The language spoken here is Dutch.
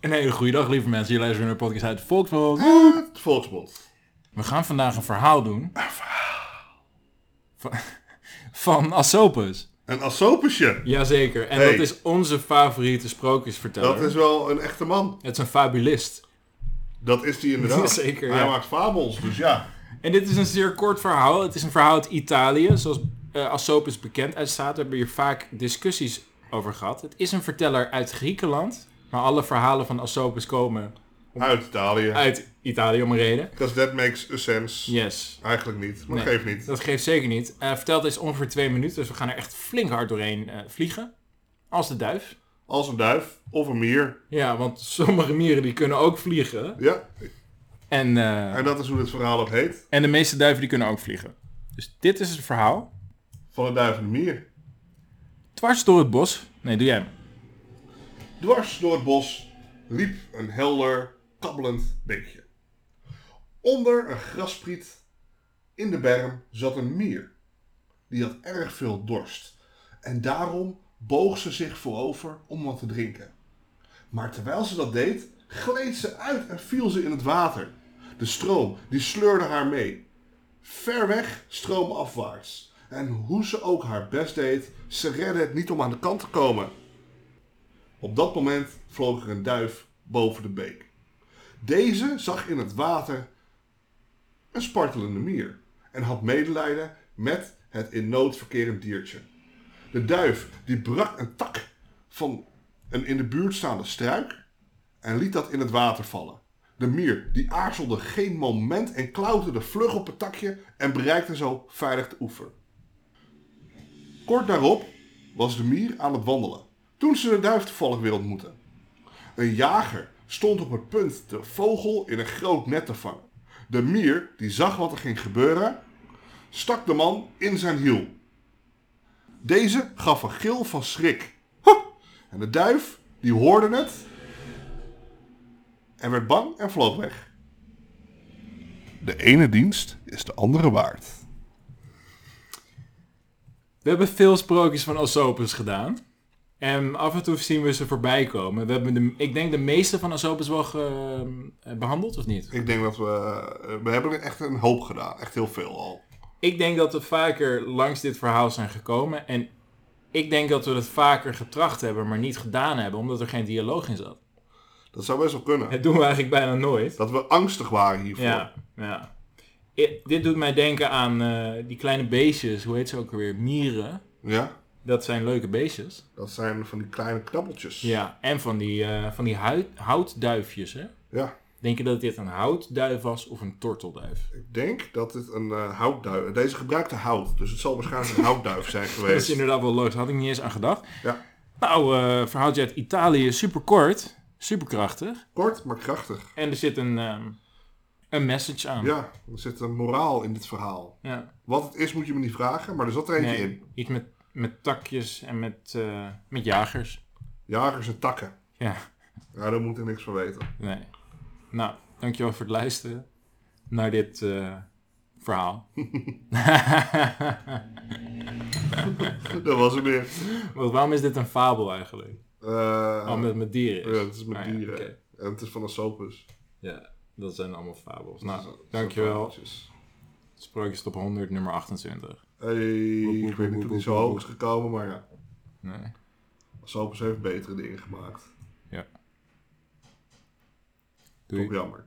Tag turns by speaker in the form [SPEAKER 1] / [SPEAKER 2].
[SPEAKER 1] Een hele goede dag, lieve mensen. Je luistert naar de podcast uit Volkswagen.
[SPEAKER 2] Het Volksbond.
[SPEAKER 1] We gaan vandaag een verhaal doen. Van, van Asopus.
[SPEAKER 2] Een Asopusje.
[SPEAKER 1] Jazeker. En
[SPEAKER 2] Hey.
[SPEAKER 1] dat is onze favoriete sprookjesverteller.
[SPEAKER 2] Dat is wel een echte man.
[SPEAKER 1] Het is een fabulist.
[SPEAKER 2] Dat is die inderdaad.
[SPEAKER 1] Zeker,
[SPEAKER 2] Hij
[SPEAKER 1] ja.
[SPEAKER 2] maakt fabels, dus ja.
[SPEAKER 1] En dit is een zeer kort verhaal. Het is een verhaal uit Italië. Zoals eh Asopus bekend uit staat, we hebben hier vaak discussies over gehad. Het is een verteller uit Griekenland. Maar alle verhalen van Asopus komen
[SPEAKER 2] Uit Italië.
[SPEAKER 1] uit Italië om een reden.
[SPEAKER 2] Because that makes a sense.
[SPEAKER 1] Yes.
[SPEAKER 2] Eigenlijk niet, maar
[SPEAKER 1] Nee.
[SPEAKER 2] geeft niet.
[SPEAKER 1] Dat geeft zeker niet. Eh, verteld is ongeveer twee minuten, dus we gaan er echt flink hard doorheen eh, vliegen. Als de duif.
[SPEAKER 2] Als een duif of een mier.
[SPEAKER 1] Ja, want sommige mieren die kunnen ook vliegen.
[SPEAKER 2] Ja,
[SPEAKER 1] En, eh,
[SPEAKER 2] en dat is hoe het verhaal ook heet.
[SPEAKER 1] en de meeste duiven die kunnen ook vliegen. Dus dit is het verhaal.
[SPEAKER 2] Van een duif en een mier.
[SPEAKER 1] Dwars door het bos. Nee, doe jij hem.
[SPEAKER 2] Dwars door het bos liep een helder, kabbelend beekje. Onder een graspriet in de berm zat een mier. Die had erg veel dorst. En daarom boog ze zich voorover om wat te drinken. Maar terwijl ze dat deed, gleed ze uit en viel ze in het water. De stroom die sleurde haar mee. Ver weg stroomafwaarts. En hoe ze ook haar best deed, ze redde het niet om aan de kant te komen. Op dat moment vloog er een duif boven de beek. Deze zag in het water een spartelende mier en had medelijden met het in nood verkerend diertje. De duif die brak een tak van een in de buurt staande struik en liet dat in het water vallen. De mier die aarzelde geen moment en klauterde vlug op het takje en bereikte zo veilig de oever. Kort daarop was de mier aan het wandelen, toen ze de duif toevallig weer ontmoette. Een jager stond op het punt de vogel in een groot net te vangen. De mier, die zag wat er ging gebeuren, stak de man in zijn hiel. Deze gaf een gil van schrik. Huh! En de duif, die hoorde het en werd bang en vloog weg. De ene dienst is de andere waard.
[SPEAKER 1] We hebben veel sprookjes van Asopus gedaan. En af en toe zien we ze voorbij komen. We hebben de, ik denk de meeste van Asopus wel ge- eh, behandeld, of niet?
[SPEAKER 2] Ik denk dat we... eh, We hebben er echt een hoop gedaan. Echt heel veel al.
[SPEAKER 1] Ik denk dat we vaker langs dit verhaal zijn gekomen. En ik denk dat we het vaker getracht hebben, maar niet gedaan hebben, omdat er geen dialoog in zat.
[SPEAKER 2] Dat zou best wel kunnen.
[SPEAKER 1] Dat doen we eigenlijk bijna nooit.
[SPEAKER 2] Dat we angstig waren hiervoor.
[SPEAKER 1] Ja, ja. I- dit doet mij denken aan eh, die kleine beestjes, hoe heet ze ook alweer? Mieren.
[SPEAKER 2] Ja?
[SPEAKER 1] Dat zijn leuke beestjes.
[SPEAKER 2] Dat zijn van die kleine knabbeltjes.
[SPEAKER 1] Ja, en van die, eh, van die huid- houtduifjes, hè?
[SPEAKER 2] Ja.
[SPEAKER 1] Denk je dat dit een houtduif was of een tortelduif?
[SPEAKER 2] Ik denk dat dit een eh, houtduif... Deze gebruikte hout. Dus het zal waarschijnlijk een houtduif zijn
[SPEAKER 1] Dat is
[SPEAKER 2] geweest.
[SPEAKER 1] inderdaad wel leuk, daar had ik niet eens aan gedacht.
[SPEAKER 2] Ja.
[SPEAKER 1] Nou, eh verhaaltje uit Italië, super kort, super krachtig.
[SPEAKER 2] Kort, maar krachtig.
[SPEAKER 1] En er zit een, ehm, een message aan.
[SPEAKER 2] Ja. Er zit een moraal in dit verhaal.
[SPEAKER 1] Ja.
[SPEAKER 2] Wat het is, moet je me niet vragen. Maar er zat er eentje
[SPEAKER 1] Nee,
[SPEAKER 2] in.
[SPEAKER 1] iets met, met takjes en met, eh, met jagers.
[SPEAKER 2] Jagers en takken.
[SPEAKER 1] Ja,
[SPEAKER 2] Ja, daar moet ik niks van weten.
[SPEAKER 1] nee. Nou, dankjewel voor het luisteren naar dit eh, verhaal.
[SPEAKER 2] dat was hem weer.
[SPEAKER 1] Want waarom is dit een fabel eigenlijk?
[SPEAKER 2] Eh,
[SPEAKER 1] Oh, met, met dieren is.
[SPEAKER 2] ja, het is met
[SPEAKER 1] Ah, ja,
[SPEAKER 2] dieren.
[SPEAKER 1] oké.
[SPEAKER 2] En het is van de sopus.
[SPEAKER 1] Ja, dat zijn allemaal fabels.
[SPEAKER 2] Dat is-
[SPEAKER 1] Nou,
[SPEAKER 2] dat zijn
[SPEAKER 1] dankjewel.
[SPEAKER 2] fabeltjes.
[SPEAKER 1] Sprookjes top 100, nummer 28.
[SPEAKER 2] Hey, ik weet niet of die zo
[SPEAKER 1] boep, boep.
[SPEAKER 2] hoog is gekomen, maar ja.
[SPEAKER 1] Nee.
[SPEAKER 2] Sopus heeft betere dingen gemaakt.
[SPEAKER 1] Ja.
[SPEAKER 2] Toch
[SPEAKER 1] Doei.
[SPEAKER 2] jammer.